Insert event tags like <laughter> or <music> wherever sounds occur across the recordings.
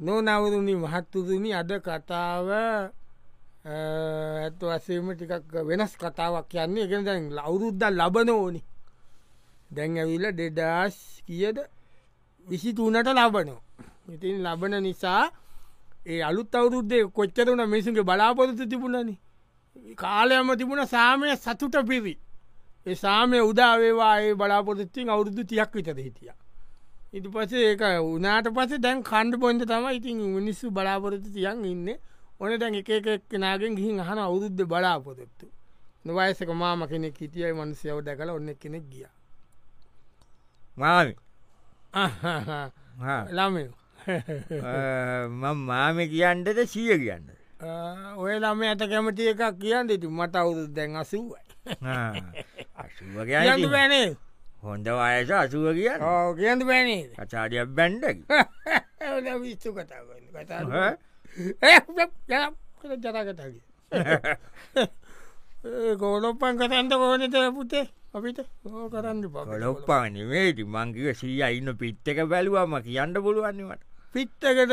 නොනවරුණි මහත්තුරුණි අද කතාව ඇත්ත වසීම ටිකක් වෙනස් කතාවක් යන්නේ එකෙන දැන් අවුරුද්දල් ලබන ඕනි දැන් ඇවිල්ල දෙදස් කියද විසි තුනට ලබනෝ ඉතින් ලබන නිසා ඒ අලුත් අවුරුද්දේ කොච්චරුණ මිසුන්ගේ බලාපොරොතු තිබුණනි කාලයම තිබුණ සාමය සතුට පිවි ඒ සාමය උදාවේවා ඒ බලාපොරොත්තින් අවුරුදු තියක් විතර හිටිය ඉති පසේ ඒක උනාට පසේ දැන් කණ්ඩ පොන්ද තම ඉතින් මිනිස්සු බලාපොරොතු තියන් ඉන්න ඕන දැන් එක එක එක්කෙනගෙන් ගිහින් අහන අවුරුද්ධ බලාපොරොත්තු නොවයසක මාම කෙනෙක් හිටියයි මනුසයව දැකල ඔන්න කෙනෙක් ගිය මාමි <laughs> ළමයෝ මං මාම කියන්නට සිය කියන්න ඔය ළම ඇත කැමති එකක් කියන්න ඉතු මට අවුරුදු දැන් අසුවයි අසුව කියන්න කිය බැනේ හොඳ අයස අසුව කියන්න ඕ කියන්න බැනේ <laughs> කචාඩියක් බැන්්ඩ විස්තු කතා කරන්න. කතා කරන්න. <laughs> ඈ? ඒ බ්ලප් ජරා කර ජරා කතා කිය. ඒ ගෝලොප්පන් කරන්න ඕනෙත පුතේ අපිට ඕ කරන්න බ කොලොප්පානවේති මංකිව සීය ඉන්න පිත් එක බැලුවම කියන්න පුළුවන්නවට පිට්ටකට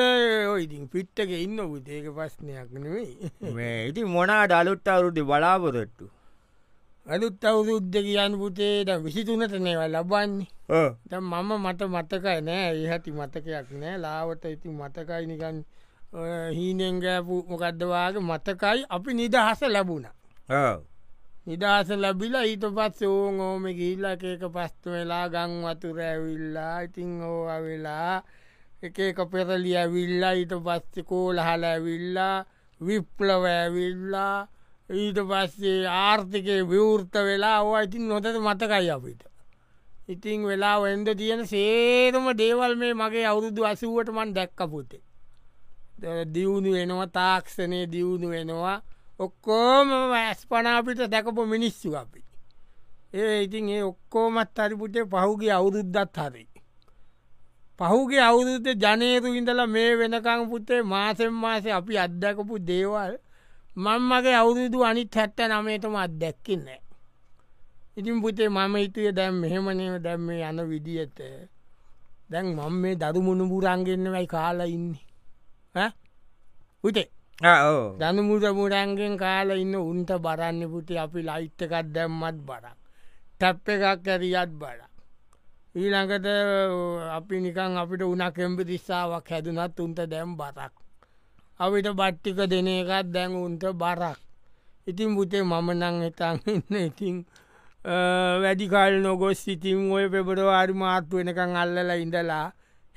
ඔයිඉතින් පිට්ටක ඉන්න පුතේක පස්්නයක් නෙවෙයි මේ ඉති මොනා ඩලුත් අවුරුදි බලාපොරොට්ටු අලුත් අවුරුද්ධ කියන්න පුතේ ද විසිතුනට නේවල් ලබන්නේ දැන් මම මට මතකයි නෑ ඒහැති මතකයක් නෑ ලාවට ඉති මතකයි නිකන් ඔය හීනෙන් ගෑපු මොකක්දවාගේ මතකයි අපි නිදහස ලැබුණ නිදහස ලැබිලා ඊට පත් ඕෝන් ඕෝම ගිල්ලක එක පස්තු වෙලා ගං වතුර ඇවිල්ලා ඉතිං ඕ වෙලා එක එක පෙරලිය ඇවිල්ලා ඊට පස්තිකෝ ලහල ඇවිල්ලා විප්ලව ඇවිල්ලා ඊට පස්සේ ආර්ථිකය විවෘත වෙලා ඕ ඉතින් නොතද මතකයි අපිට ඉතිං වෙලා වෙන්ඩ තියෙන සේරම දේවල් මේ මගේ අවුරුදු අසුවට මන් දැක්කපුතේ ද- දියුණු වෙනවා තාක්ෂණය දියුණු වෙනවා ඔක්කෝම ඇස් පනාපිට දැකපු මිනිස්සු අපි ඒ ඉතින් ඒ ඔක්කෝමත් හරිපුටේ පහුගේ අවුරුද්දත් හරි පහුගේ අවුරුද්ද ජනේරු ඉඳලා මේ වෙනකං පුතේ මාසෙන් මාසේ අපි අත්දැකපු දේවල් මං මගේ අවුරුදු අනිත් හැත්ත නමේතම අත්දැක්කන්නේ ඉතින් පුතේ මම හිතුය දැම් මෙහෙමනව දැම් මේ යන විදිහත දැන් මං මේ දරු මුණපුරන්ගෙන්න්නවයි කාලා ඉන්නේ ඈ? පුතේ දනුමුද මුරන්ගෙන් කාල ඉන්න උන්ට බරන්න පුති අපි ලයිට්ටකත් දැම්මත් බරක් ටැප් එකක් ඇරියත් බඩක් ඊළඟට අපි නිකන් අපිට උනා කෙම්පි තිස්සාාවක් හැදුනත් උන්ට දැම් බරක් අපිට බට්ටික දෙන එකත් දැන් උන්ට බරක් ඉතින් පුතේ මම නං එතන් ඉන්න ඉතින් අ, වැඩිකාල් නොගොස් සිතින් ඔය පෙබරවාරි මාර්තු වෙනකං අල්ලල ඉඳලා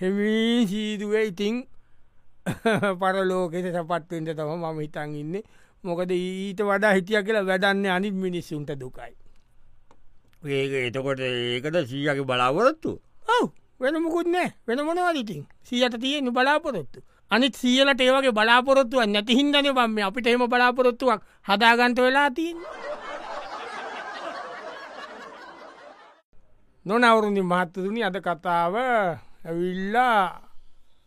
හෙමී සීදුවේ ඉතිං <laughs> පරලෝකෙට සපත්වෙන්ට තම මම හිතන් ඉන්න මොකද ඊට වඩා හිටිය කියලා වැඩන්න අනිත් මිනිස්සුන්ට දුකයි ඒක එතකොට ඒකට සීයක බලාපොරොත්තු ඔව වෙන මුකුත් නෑ වෙන මොනවලිතින් සියට තියෙන බලාපොරොත්තු අනිත් සියලට ඒවගේ බලාපොරොත්තුව නැති හින්දන බම්ම අපිට එම බලාපොරොත්තුවක් හදාගන්ට වෙලා තින් නොනවරුණි මහත්තතුනි අද කතාව ඇවිල්ලා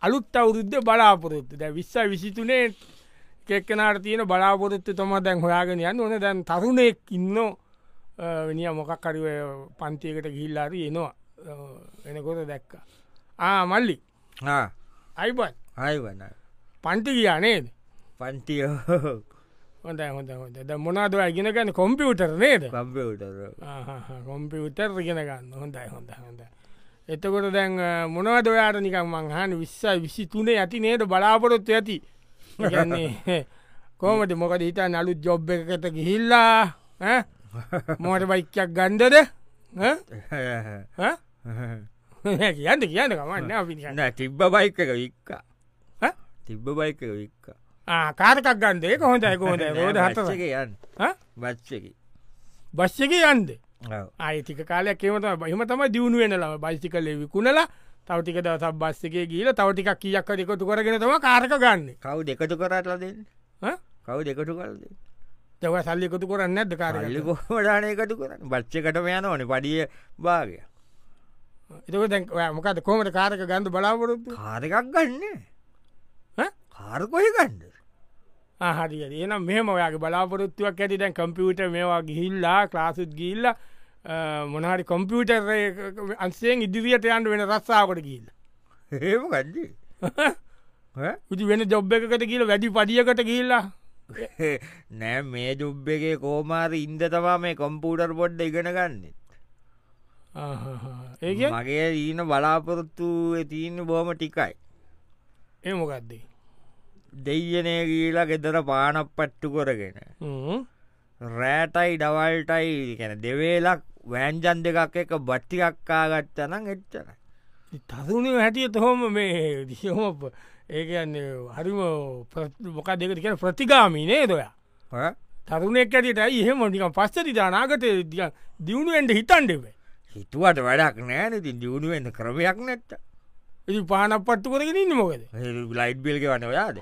අලුත් අවුරුද්ධ බලාපොරොත්තු දැ විස්ස විසිතුනේ කෙක්කනාට තියෙන බලාපොරොත්තු තම දැන් හොයාගෙන යන්න ඕන දැන් තරුණෙක් ඉන්න වෙනිය මොකක්කරුව පන්තියකට ගිල්ලාරී එනවා අ, එනකොට දැක්ක ආ මල්ලි අයිපත් අයි වන පන්ති කියානේද පන්තිය <laughs> හොඳ හොඳ හොඳ ද මොනාදව ඉගෙනගන්න කොම්පියුටර් නේද කම්පියුටර <laughs> කොම්පියුටර් ඉගෙනගන්න හොඳයි හොඳ හොඳ එතකොට දැන් අ, මොනවද ඔයාට නිකම් මංහන් විශ්සයි විසි තුනේ ඇති නේද බලාපොරොත්තු ඇති ඒ කියන්නේ, <laughs> කොහොමද මොකද හිතා නලුත් ජොබ් එකකට ගිහිල්ලා ඈ? මෝට බයික්කයක් ගන්ඩද කියන්න කියන්න කමන්න අපි කියන්න තිබ්බ බයික එක වික්කා ඈ? තිබ්බ බයික එක වික්කා කාරකක් ගන්දේ කොහොඳයි කොහොඳ <laughs> රෝද හත එක යන්න බච්චකි බස්්‍යක යන්ද ආයතික කාලයක් කියමත බහිම තම දියුණු වෙනලම බයිසිකල විකුණලා තවටික දවසක් බස්සකේ ගීල තවටික කියක් දෙකොතු කරගෙන තම කාරක ගන්න කව් දෙකතු කරටලා දෙන්න කව් දෙකටු කරද තව සල්ලිකොතු කරන්න ඇද කාර පල්ලිකොහඩාන එකතු කරන්න බච්චකටම යන ඕන පඩිය භාගය එතක මොකද කොමට කාරක ගන්ධ බලාපොරොත්තු කාරකක් ගන්න කාරකොය <laughs> ගණ්ඩ හරි එනම් මෙම ඔයාගේ බලාපොරොත්තුවක් ඇති දැන් කම්පියුට මේවා ගිහිල්ලා ක්ලාසුත් ගිල්ල මොනහරි කොම්පියුටර් අන්සයෙන් ඉදිරිියට යන්ට වෙන රස්සාාවට ගිල්ල ඒම ගඩ්ඩි ඉති වෙන ජොබ් එකකට කියල වැඩි පඩියකට ගිල්ලා <laughs> නෑ මේ ජුබ්බගේ කෝමාර ඉන්ද තමා මේ කොම්පූටර් පොඩ්ඩ ඉගෙන ගන්නෙත් ඒක මගේ ඊන බලාපොරොත්තු තියන්න බොහම ටිකයි ඒමොකක්දේ දෙයනය ගීලා ගෙදර පානක් පට්ටු කොරගෙන රෑටයි ඩවල්ටයි කැන දෙවේලක් වෑන්ජන් දෙකක් එක බට්ටිකක්කා ගත්තනම් එච්චර තරුණය හැටියට හොම මේ දිහෝම ඒකන්නේ හරිම මොකක් දෙකට කියන ප්‍රතිකාමී නේ දොයා තරුණෙක් ඇටටයි එහෙම ටික පස්සති ජනාගත දියුණුවෙන්ට හිතන්ඩෙවේ හිතුවට වැඩක් නෑන ති දියුණුවෙන් ක්‍රමයක් නැත්ත ඉති පානක් පට්ටු කරගෙන ඉන්න මොකද ලයිට් බිල්ග වන ඔයාද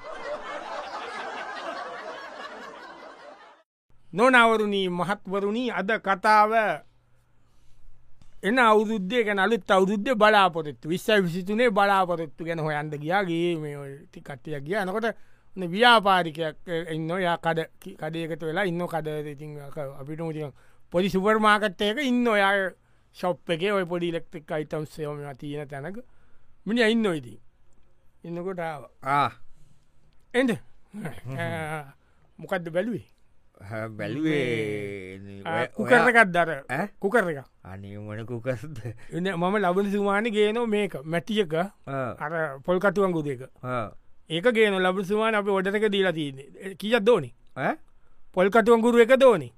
නොනවරුණී මහත්වරුණී අද කතාව එන අවුද්ධය ගැන අලුත් අවුද්ධ බලාපොරත්තු විශ්ස විසිතුනේ බලාපොරොත්තු ගැන හොයන්ද ගියාගේ මේ ඔය ටි කට්ටිය ගිය නොකොට ව්‍යාපාරිකයක් එන්න යා කඩ කි- කඩයකට වෙලා ඉන්න කඩ ඉතින් අක- අපිට මුති පොඩි සුපර් මාකට්ටයක ඉන්න ඔයා ශොප් එක ඔය පොඩි ඉලෙක්ට්‍රික් අයිතම් සයෝම තියෙන තැනක මිනි ඉන්න ඉදී ඉන්නකොට ආව එඩ මොකක්ද බැලුවේ බැලුවේ කුකරකත් දර ඈ? කුකර එක අනිමන කුකස්ද එන්න මම ලබන සුමාන ගේනෝ මේක මැටියක අර පොල්කටුවන්ගු දෙක ඒක ගේන ලබ සුමාන අප ඔඩටක දීලා තියන්නේ කියත් දෝනි පොල්කටුවන්ගුරු එක දෝනි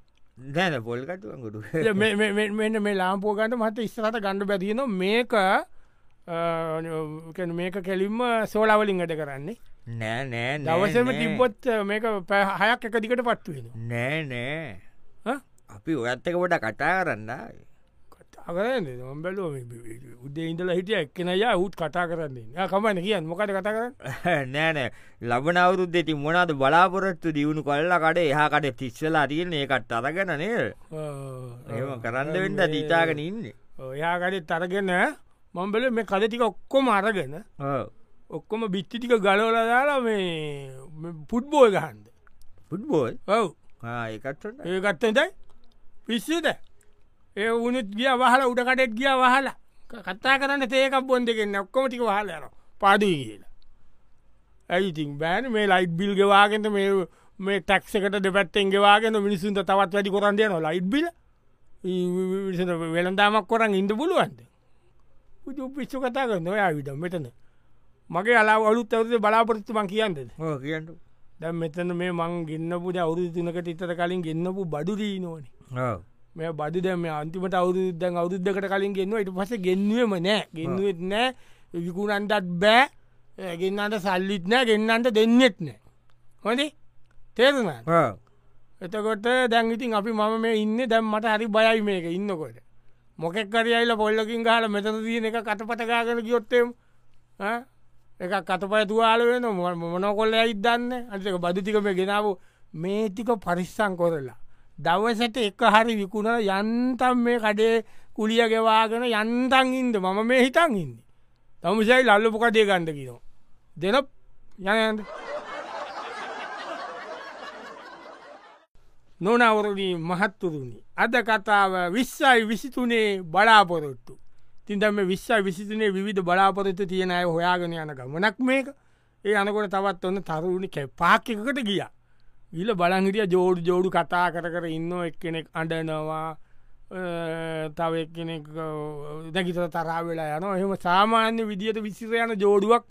දැන පොල්කටුවගුඩු මෙන්න මේ ලාම්පෝගන්ට මත ඉස්සරට ගණඩ බැතියෙන මේක අ, කැන මේක කෙලින්ම සෝලාවලින්ගට කරන්නේ නෑ නෑ නෑ, දවසම නෑ. තිබ්බොත් මේක පැ හයක් එක දිකට පත්තුවෙන නෑ නෑ අපි ඔයත්තක පොට කටා කරන්න කතාකරන්නේ නොම්බැලෝ උදේ ඉඳල හිටිය එක්කෙනයා උත් කතා කරන්නේ කමන්න කියන්න මොකට කතා කරන්න <laughs> නෑනෑ ලබන අවුරුද්දෙති මොනාද බලාපොරොත්තු දියුණු කොල්ල කඩේ එහාකට තිස්සලා තියෙන ඒකට අරගෙන නේ එම කරන්න වෙන්ට දීතාගෙන ඉන්න ඔයාගඩ තරගෙන මම්බල මේ කදටික ඔක්කොම අරගෙන ඔක්කොම බිච්චිටික ගලෝල දාලා මේ පුට්බෝය ගහන්ද පුට්බෝල් ඔව් ඒකත්ට ඒකත්තටයි පිස්සද ඒ උනුත් ගිය වහල උඩකටෙක් ගිය වහලා ක- කතා කරන්න තේකක් බොන් දෙකෙන් ඔක්කොම ටික වහලයන පාදී කියලා ඇයිඉතින් බෑන මේ ලයිට් බිල් ගවාගෙන්ට මේ මේ ටක්සකට දෙපැත්තෙන් ගෙවාගෙන මිනිසුන්ට තවත් වැඩි කොරන්දය නො ලයිට් බිල වෙළඳාමක් කොරන් ඉඳ පුළුවන්ද උතු පිච්චු කතා කර නොයා විට මෙතන මගේ අලා අලුත් අවද බලාපොරත්තුමන් කියන්නද ඕ කියන්න දැ මෙතන මේ මං ගන්නපුට අවුදු තුනකට ඉතර කලින් ගන්නපු බඩුදී නෝන මේ බඩු දැම අන්තිමට අවුදුදන් අවුද්ධකට කලින් ගෙන්නවා ඉට පස ගෙන්වීම නෑ ගෙන්ුවත් නෑ විකුණන්ටත් බෑ ඒ ගෙන්න්නට සල්ලිත් නෑ ගෙන්න්නට දෙන්නෙත් නෑ හොඳේ තේරුණ එතකොට දැන් ඉතින් අපි මම මේ ඉන්න දැම් මට හරි බයයි මේක ඉන්නකොට මොකෙක් කරයයිල පොල්ලකින් හල මෙතන දීන එක කටපටකාගෙන ගියොත්තෙම එක කතපය තුවාල වෙන මොන කොල්ල ඉදන්න අක බදුතිකම ගෙනාව මේතික පරිස්සං කොරලා. දවසට එක හරි විකුණ යන්තම් මේ කඩේ කුලිය ගෙවාගෙන යන්තන් ඉන්ද මම මේ හිතන් ඉන්න. තමුසයි ලල්ලපුකටේ ගණ්ඩ කියනවා. දෙන යනන්ට. නොනවරණී මහත්තුරුණි. අද කතාව විශ්සයි විසිතුනේ බලාපොරොත්තු. තින්දම විශ්සයි විසිතුනේ විධ බලාපොරොත්තු තියෙන අය හොයාගෙන යන ගමනක් මේක ඒ අනකොට තවත් ඔන්න තරුණි කැ පාකිකට ගිය. ගිල බලංහිටිය ජෝඩ් ජෝඩු කතා කර කර ඉන්න එක්කෙනෙක් අඩනවා අ, තව එක්කෙනෙක් දැකිතර තරාවෙලා යන එහෙම සාමාන්‍ය විදිහට විසිර යන ජෝඩුවක්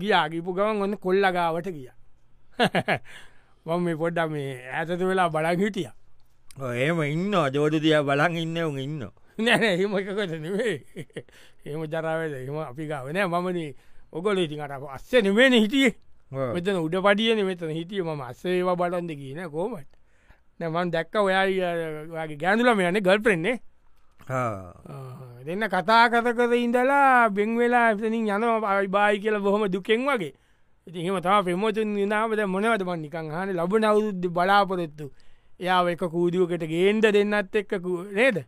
ගියාගිපු ගමන් ඔන්න කොල්ලගාවට ගිය. <laughs> මම මේ පොඩ්ඩ මේ ඇතත වෙලා බලන් හිටිය ඒම ඉන්න ජෝඩතිය බලන් ඉන්න උන් ඉන්න නෑ එහෙම එකකට නෙවේ <laughs> එහෙම ජරාවද එම අපි ගාවනෑ මමන ඔකොල ඉතිකට අස්ස නිවෙන හිටියේ මෙතන උඩ පඩියන මෙතන හිටිය ම අස්සේවා බලන්ද කියන කෝමට නැමන් දැක්ක ඔයාගේ ගෑඳුලම යන ගල් පෙන්නේ දෙන්න කතා කත කර ඉඳලා බෙන් වෙලා එතනින් යන බායි කියල බොහොම දුකෙන් වගේ ඉතිහම තම පෙමෝතුන් නාමද මොනවට මන් නිකං හන ලබ නවුද්ද බලාපොරොත්තු එයා එක කූදුවකට ගේන්ද දෙන්නත් එක්ක කූ- නේද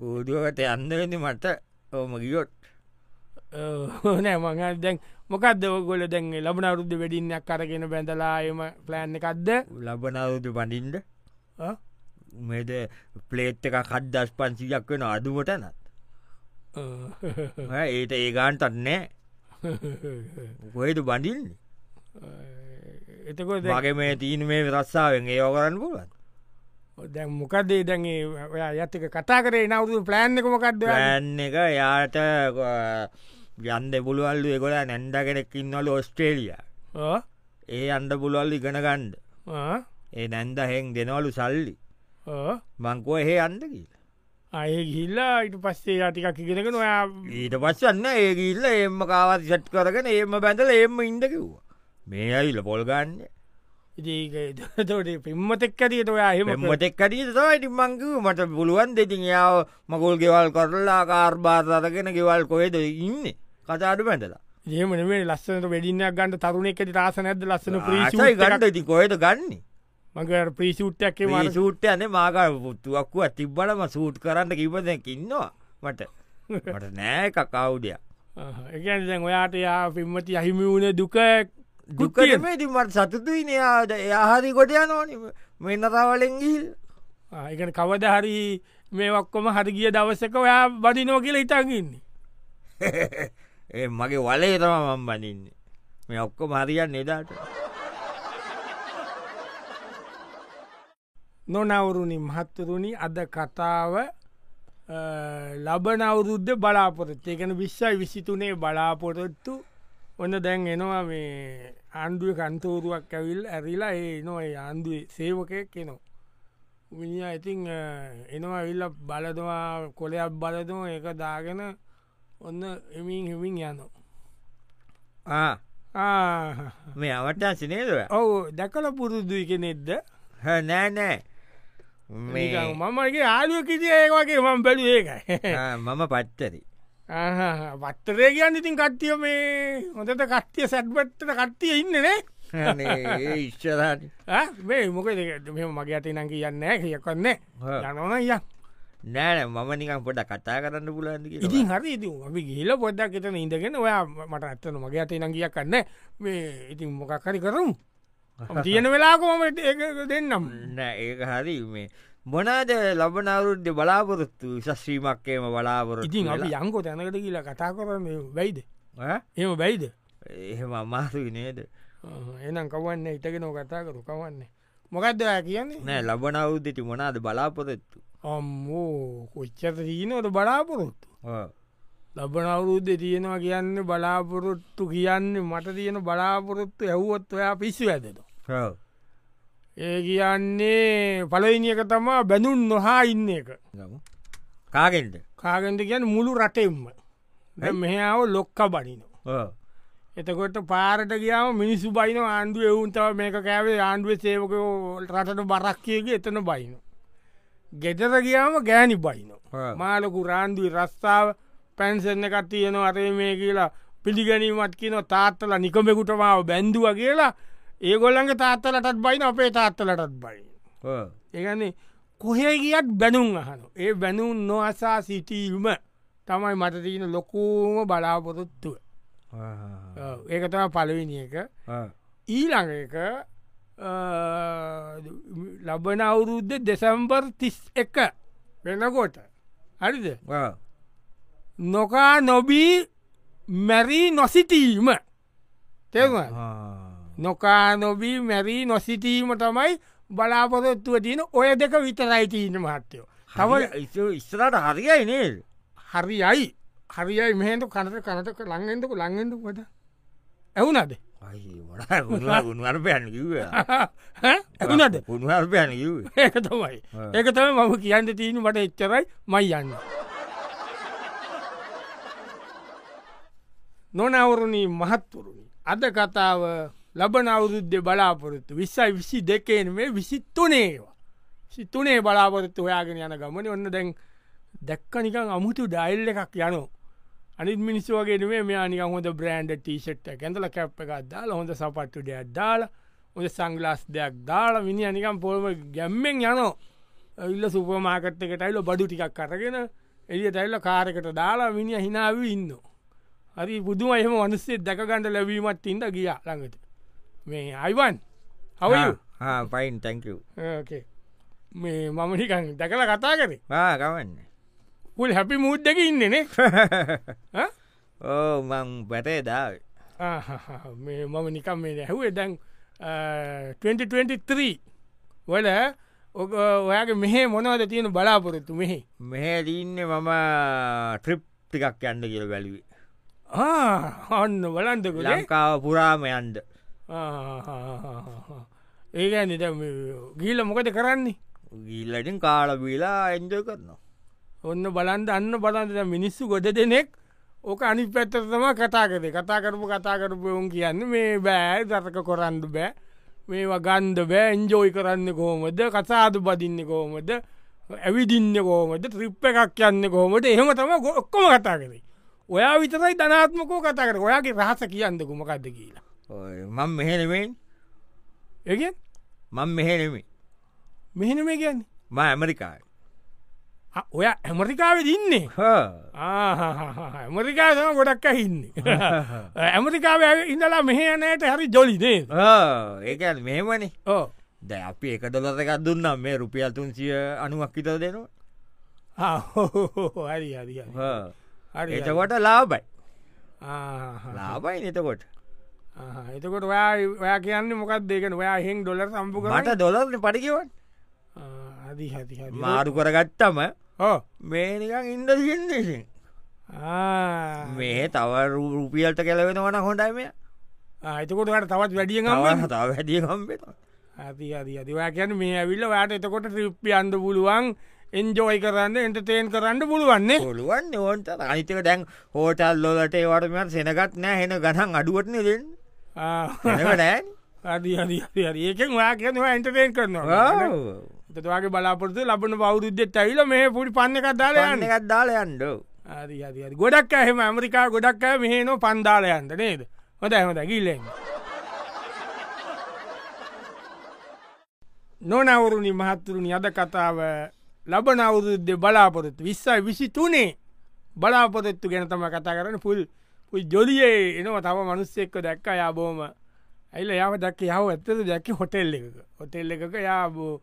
කූදුවකට යන්නවෙන්න මට ඕම ගියොත් නෑ මඟ දැන් මොකක්ද ඔගොල දැන් ලබන අවුද්ධ වැඩින්නක් කරගෙන බැඳලා එම ප්ලෑන් එකක්ද ලබනවුතු පඩින්ට ආ? මෙද පලේට් එක කඩ්දස් පන්සියක් වෙන අඩුවට නත් ඒට ඒගාන්ටත් නෑ කොහෙට බඩින් එතකොට දැන්- වගේ මේ තීන මේ රස්සාාවෙන් ඒ ඔකරන්න පුලත් දැන් මොකක්දේ දැන් ඒ ඔයා යත්තක කතා කරේ නවුතු ප්ලෑන්් එකමකක්ද න්න එක යාට යන්ද පුළුවල්ලු එකොල නැන්ඩ කෙනෙක් ඉන්නවල ඔස්ට්‍රේලිය ඒ අන්ඩ පුළුවල්ල ඉගෙනගණ්ඩ ඒ නැන්ද හෙන් දෙනවලු සල්ලි මංකුව එහේ අන්ද කියලා අය ගිල්ලා ඊට පස්සේ යාටිකක් ඉගෙනක නොයා ඊට පස්සන්න ඒ ගිල්ල එම කාවත් සට් කරගෙන ඒම බැඳල එම ඉන්ඩකිව්වා මේ ඇවිල පොල්ගන්න ඉතිතට පිම්මතෙක් ඇතියට ඔයා හෙම මෙමතෙක්කටීත තයිටි මංකව මට පුළුවන් දෙතින් යාව මකුල් ගෙවල් කරලා කාර්භාතගෙන ගෙවල් කොහෙද ඉන්න කතාට පැඳලා ඒමනේ ලස්සනට වැඩින්නක් ගන්න තරුණෙක් ඇති රස නැද ලස්සන ආසයි ප්‍රීෂ ගණ්ඩ ඉති කොහෙද ගන්නේ මඟ ප්‍රීෂුට්ටයක් මේ සූට් යන මාකර පුත්තුවක්කුව තිබ්බලම සූට් කරන්න කිපදැකින්නවා මට මට නෑ කකවුඩයක් එකන් දැන් ඔයාට යා පිම්මති අහිමි වුණ දුක ගුත්තිය දුකටමේති මට සතුතුයි නයාද යහරි කොට යනෝන මෙන්නතාවලෙන්ගිල් එක කවද හරි මේ ඔක්කොම හරි ගිය දවසක ඔයා බදිනෝ කියල ඉතාගන්නේ <laughs> ඒ මගේ වලේ තම මම් බනින්නේ මේ ඔක්කො මරියන් එදාට නොනවරුණි මහත්තරුණි අද කතාව අ, ලබන අවුරුද්ධ බලාපොරොත්තු එකන විශ්සයි විසිතුනේ බලාපොරොත්තු ඔන්න දැන් එනවා මේ ආණ්ඩුව කන්තෝරුවක් ඇවිල් ඇරිලා ඒ නො ආණ්ඩුව සේවකය කෙනවා. විනි ඉතින් අ, එනවා විල්ල බලදවා කොලයක් බලදම එක දාගෙන ඔන්න එමින් හෙමින් යනවා. ආ, ආ, මේ අවට සිනේදව ඔව් දැකල පුරුද්දුයි කෙනෙක්ද නෑනෑ නිකන් මේ මමගේ ආලුව කිසිය ඒවාගේ මම බැලු ඒකයි. <laughs> ආ, මම පච්චරි වත්තරේ කියන්න ඉතින් කට්ටිය මේ හොඳට කට්ටිය සැට්බට්ට කට්ටිය ඉන්නනේ ඉශ්චරට මේ මොක මෙ මගේ අතේ නං කියන්න කියකන්නේ හා. යනවන ය නෑන මම නිකම් පොට කතා කරන්න පුලන්දි ඉතින් හරි ඉති අපි ගිල පොඩ්ඩක් එතන ඉඳගෙන ඔයා මට ඇත්තන මගේ අතේ නං කියක් කන්න මේ ඉතින් මොකක් හරි කරුම් තියෙන වෙලාකෝම දෙන්නම් නෑ ඒක හරි මේ මොනාද ලබන අවුරුද්ධ බලාපොරොත්තු විශස්්‍රීමක්කේම බලාපොරොත් ඉතින් අපි යංකෝ තැනකට කියලා කතා කරම බයිද එම බයිද එහෙම අමාසු නේද එනම් කවන්න ඉටගෙන කතා කරු කවන්නේ මොකක්ද ඔයා කියන්නේ නෑ ලබන අවුද්ධති මොනාද බලාපොරොත්තු අම්මෝ කොච්චත තියනවට බලාපොරොත්තු ලබන අවුරුද්ධ තියෙනවා කියන්න බලාපොරොත්තු කියන්න මට තියෙන බලාපොරොත්තු ඇව්වොත් ඔයා පිස්සු ඇතට ඒ කියන්නේ පලයිනියක තමා බැඳුන් නොහා ඉන්න එක කාගෙන්ට කාගෙන්ට කියන්න මුළු රටෙම්ම දැන් මෙහාව ලොක්ක බනිනෝ එතකොට පාරට ගියාව මිනිස්සු බයින ආණ්ඩුව එවුන්තාව මේක කෑවේ ආණ්ඩුව සේවකෝ රටට බරක්කියගේ එතන බයිනෝ ගෙදර ගියාම ගෑනි බයිනෝ මාලකු රාන්දුවයි රස්ථාව පැන්සෙන්න එකත් තියනවා අරේ මේ කියලා පිළිගැනීමත් කියන තාත්තල නිකමෙකුටමාව බැන්දුව කියලා ඒගොල්ලන්ගේ තාත්තලටත් බයින අපේ තාත්තලටත් බයි. ඒගන්නේ කොහේ ගියත් බැනුම් අහන ඒ බැනුම් නොහසා සිටීම තමයි මට තියෙන ලොකූම බලාපොරොත්තුව ඔව්, ඒක තම පලවිනි එක ඊළඟ එක අ, ලබන අවුරුද්ධ දෙසම්බර් තිස් එක වෙනකොට හරිද නොකා නොබී මැරී නොසිටීම තෙම නොකා නොබී මැරී නොසිටීම තමයි බලාපොරොත්තුව තියෙන ඔය දෙක විතරයිටීන මහත්තයෝ තව තව ඉස්සරට හරියයි නේද හරියයි හරියයි මෙහන්ට කනට කනට ලංගෙන්ටක ලංගෙන්ටකට ඇවුනද <laughs> ගුණර්පයන් කිව ඇකුනද ගුණර්පයන් කිව <laughs> ඒක තමයි ඔව්. ඒක තම මම කියන්න තියෙන මට එච්චරයි මයි යන්න නොනවරුණී මහත්තුරුණි අද කතාව ලබන අවුරුද්ධ බලාපොරොත්තු විස්සයි විසි දෙකෙන් මේ විසිත්තුනේවා සිතුනේ බලාපොරොත්තු ඔයාගෙන යන ගමන ඔන්න දැන් දැක්ක නිකං අමුතු ඩයිල් එකක් යනෝ අනිත් මිනිස්සුවගේ නේ මේ අනික හොඳ බ්‍රන්ඩ් ටීෂට් ඇඳල කැප් එකක් දාලා හොඳ සපට්ටු දෙයක් දාලා ඔය සංගලාස් දෙයක් දාලා මිනි අනිකම් පොල්ම ගැම්මෙන් යනෝ ඉල්ල සුපමාකට් එකටයිල බඩු ටිකක් කරගෙන එලිය තැල්ල කාරකට දාලා මිනිිය හිනාව ඉන්න. හරි බුදුම එහම වනුස්සේ දැකගණඩ ලැබීමත් ඉන්ද ගියා ළඟට මේ අයිවන් හවයු පයින් තැංකව මේ මමනිකන් දැකල කතා කරේ <laughs> ගවන්න පුල් හැපි මුද්දක ඉන්නනේ ඕ මං පැටේ දාව මේ මම නිකම් මේ ඇහුවේ දැන් 2023 වල ඔක ඔයාගේ මෙහේ මොනවද තියෙන බලාපොරොත්තු මෙහි මෙහැ දීන්න මම ට්‍රිප් ටිකක් යන්න කියල බැලිවේ ඔන්න බලන්දක ලංකාව පුරාම යන්ද ඒගැන ගීල මොකද කරන්නේ ගිල්ලටින් කාලබීලා එන්ජ කරනවා ඔන්න බලන්ද අන්න බලන්ද මිනිස්සු ගොඩ දෙනෙක් ඕක අනි පැත්තරතම කතාකද කතා කරපු කතා කරපයවුන් කියන්න මේ බෑ දතක කොරන්න බෑ මේ වගන්ද බෑ එන්ජෝයි කරන්න කොහොමද කසාදු බදින්න කොහොමද ඇවිදින්න කෝමද ත්‍රිප්ප එකක් යන්න කොහොමට එහෙම තම ගොක්කොම කතා කරේ ඔයා විතරයි ධනාත්මකෝ කතා කර ඔයාගේ රහස කියන්න කුමකක්ද කියලා මං මෙහෙනමෙන් ඒ මං මෙහෙනෙමි මෙහෙන මේ කියන්නේ ම ඇමරිකායි ආ, ඔයා ඇමරිකාවෙ ඉන්නේ ඇමරිකා තම ගොඩක් ඇහින්නේ <laughs> ඇමරිකාව ඉඳලා මෙහනයට හරි ජොලිදේ ඒක මෙහෙමනේ ඕ දැ අපි එක දොලතකක් දුන්නම් මේ රුපියල් තුන්සිය අනුවක් හිත දෙනවා හරි හරි හරි. හා. හරි හරි. එතකොට ලාබයි ආහා. ලාබයි නතකොට ආහා. එතකොට ඔයා ඔයා කියන්න මොකක් දෙකන ඔයා හෙන් ඩොල සම්පු කර මට දොලරන පටිකිවන් හදි හති හරි මාරු කරගත්තම ඕ මේනිකන් ඉන්ද සින්නේ මේ තව රු- රුපියල්ට කැලවෙන වන හොඳයිම එතකොට ට තවත් වැඩිය ගම තව හැදියකම්පෙන හති හරි අදිවා කියන මේ ඇවිල්ල යාට එතකොට ්‍රිප්පි අන්ඩ පුළුවන් එන්ජෝයි කරන්න එන්ටතේන් කරන්න පුළුවන්නේ පුළුවන් ඕන්ට අනිතක දැන් හෝටල් ලොලට ඒවටමත් සෙනගත් නෑ හෙන ගහන් අඩුවටන දෙන්න නෑ අදි හරි හරි ඒකෙන් ඔයා කියනවා එන්ටතේන් කරනවා තවාගේ බලාපොරතු ලබන බෞද්ධෙත් ඇවිල මේ පුඩි පන්න එකක් දාලයන්න එකත් දාල යන්ඩ හරි හරි හරි ගොඩක් ඇහෙම ඇමරිකා ගොඩක් අය මෙහනෝ පන්දාලයන්ට නේද හොඳ ඇහම දැකිල්ලෙන් නොනවරුණි මහත්තුරුණි අද කතාව ලබන අවුරුද්ධ බලාපොරොත්තු විස්සයි විසි තුනේ බලාපොරොත්තු ගැන තම කතා කරන පුල් පුල් ජොලියේ එනවා තම මනුස්සෙක්ක දැක්ක යාබෝම ඇල්ල යාව දැක්ක යව ඇත්තද දැක්ක හොටෙල් එකක හොටෙල් එකක යාබෝ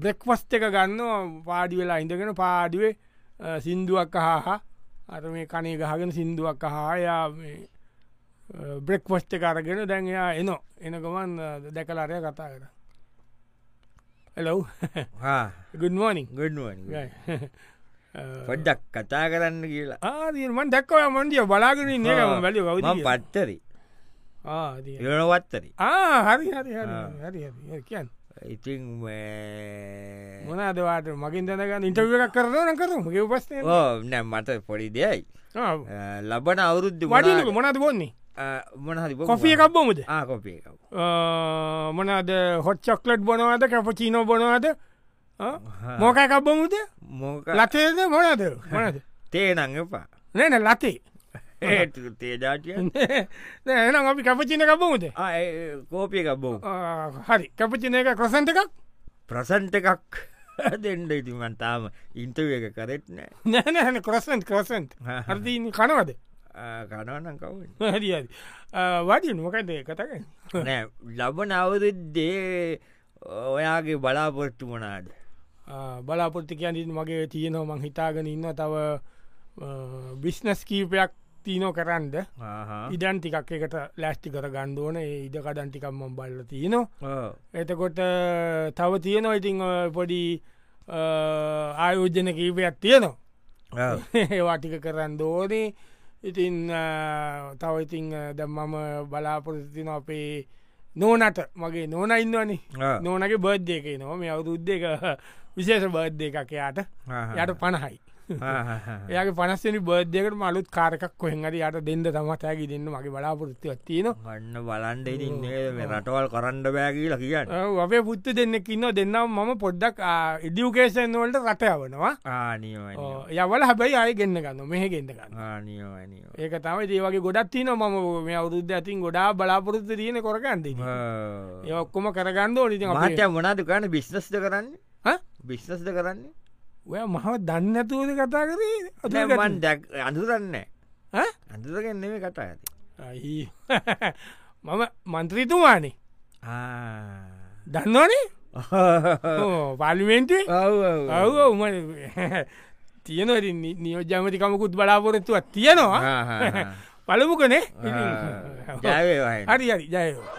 බ්‍රෙක්වස්ට එක ගන්න පාඩි වෙලා ඉඳගෙන පාඩුවේ අ, සින්දුවක් හා අර මේ කනේ ගහගෙන සින්දුවක් හායා බ්‍රෙක්වස්ට කරගෙන දැන් එයා එනෝ එනකමන් දැකලාරය කතා කර <laughs> හලෝ ගුන්මෝනිින් ගඩුවනි <laughs> පොඩ්ඩක් කතා කරන්න කියලා ආදීමන් දැක්කව මන්දිය බලාගෙන නම වැලි බව මං පත්තරි යනවත්තරි හරි හරි හරි ආ. හරි හරි කියන් ඉතිං මොනාදවාට මගින් දැනගන්න ඉටව එකක් කරන කරම ගේ පස්ස ඕ නෑ මට පොඩි දෙයයි අ, ලබන අවුරුද්ධ වඩිලක මොනද බොන්නේ මොනහරි කොෆිය එකක් බොමුද කොපිය මොනද හොත් චොක්ලට් බොනවාද කැප චීනෝ බොනවාද මෝක එකක් බොමුද මොක ලතේද මොනද මොනද තේනං එපා නන ලතේ ඒ තේජාටිය එනම් අපි කැපචින එකක් බොමුද කෝපිය එකක් බෝ ආ, හරි කැපචින එක කොසන්ට එකක් ප්‍රසන්ට එකක් දෙන්ඩ ඉතිමන්තාම ඉන්ටව එක කරෙත් නෑ නැනැන කොරසන්ට කොසන්ට හා. හරදී කනවද කනවනම් කවන්න හරි හරි වාඩිය නොකද කතක නෑ ලබන අවුරුද්දේ ඔයාගේ බලාපොර්තු මනාද බලාපොත්ති කියන්ට මගේ තියනෝ මං හිතාගෙන ඉන්න තව බිස්නස් කීපයක් තියනෝ කරන්ද ඉඩන් ටිකක් එකට ලෑස්ටි කර ගණ්ඩුවන ඉඩ කඩන්ටිකම්ම බල්ල තියනවා එතකොට තව තියනවා ඉතිං ඔය පොඩි අ, ආයෝජන කීපයක් තියනවා <laughs> ඒවාටික කරන්න ඕනේ ඉතින් අ, තව ඉතිං ද මම බලාපොරතින අපේ නෝනට මගේ නෝන ඉන්නවනි නෝනගේ බර්ද්ධය එක <laughs> නො මේ අවුරුද්ධක විශේෂ බර්ධ එකක් යාට යට පණහයි එයාගේ පනස්සනි බර්ධයකට මලුත් කාරකක් කොහෙන්ට යට දෙන්න තමත් ඇකි දෙන්න මගේ බලාපොරෘත්තිවත් තියනවා වන්න බලන්ඩ ඉන්නේ රටවල් කරන්න බෑගී ලකිගන්න අපේ පුත්තු දෙන්නෙක් ඉන්න දෙන්නම් මම පොඩ්ඩක් ඉඩියුකේෂන් වලට රටයවනවා ආනියෝ යවල හැබැයි අය ගන්න ගන්න මෙහ ගෙන්න්න ගන්න ආනියෝ ඇනිෝ ඒක තමයි දේවගේ ගොඩත් තින ම මේ අවුද්ධ ඇතින් ගොඩා බලාපොරොත්ත තියන කොරගන්ද ඒ ඔක්කොම කරගන්න ඕනිති මහටය මොනාද කරන්න බිශ්නස්ද කරන්න බිශ්නස්ද කරන්නේ ඔය මහව දන්නඇතුවද කතා කරේ දැමන් දැක් අඳුරන්න අඳුරගන්නේ මේ කතා ඇති <laughs> මම මන්ත්‍රීතුමානේ <laughs> දන්නවනේ පාලිමෙන්ටේ ඔව උම <laughs> තියෙනවරි නියෝජමතිකමකුත් බලාපොරොත්තුවක් තියෙනවා පළමුකනේ ජයවේවා හරි හරි ජයෝ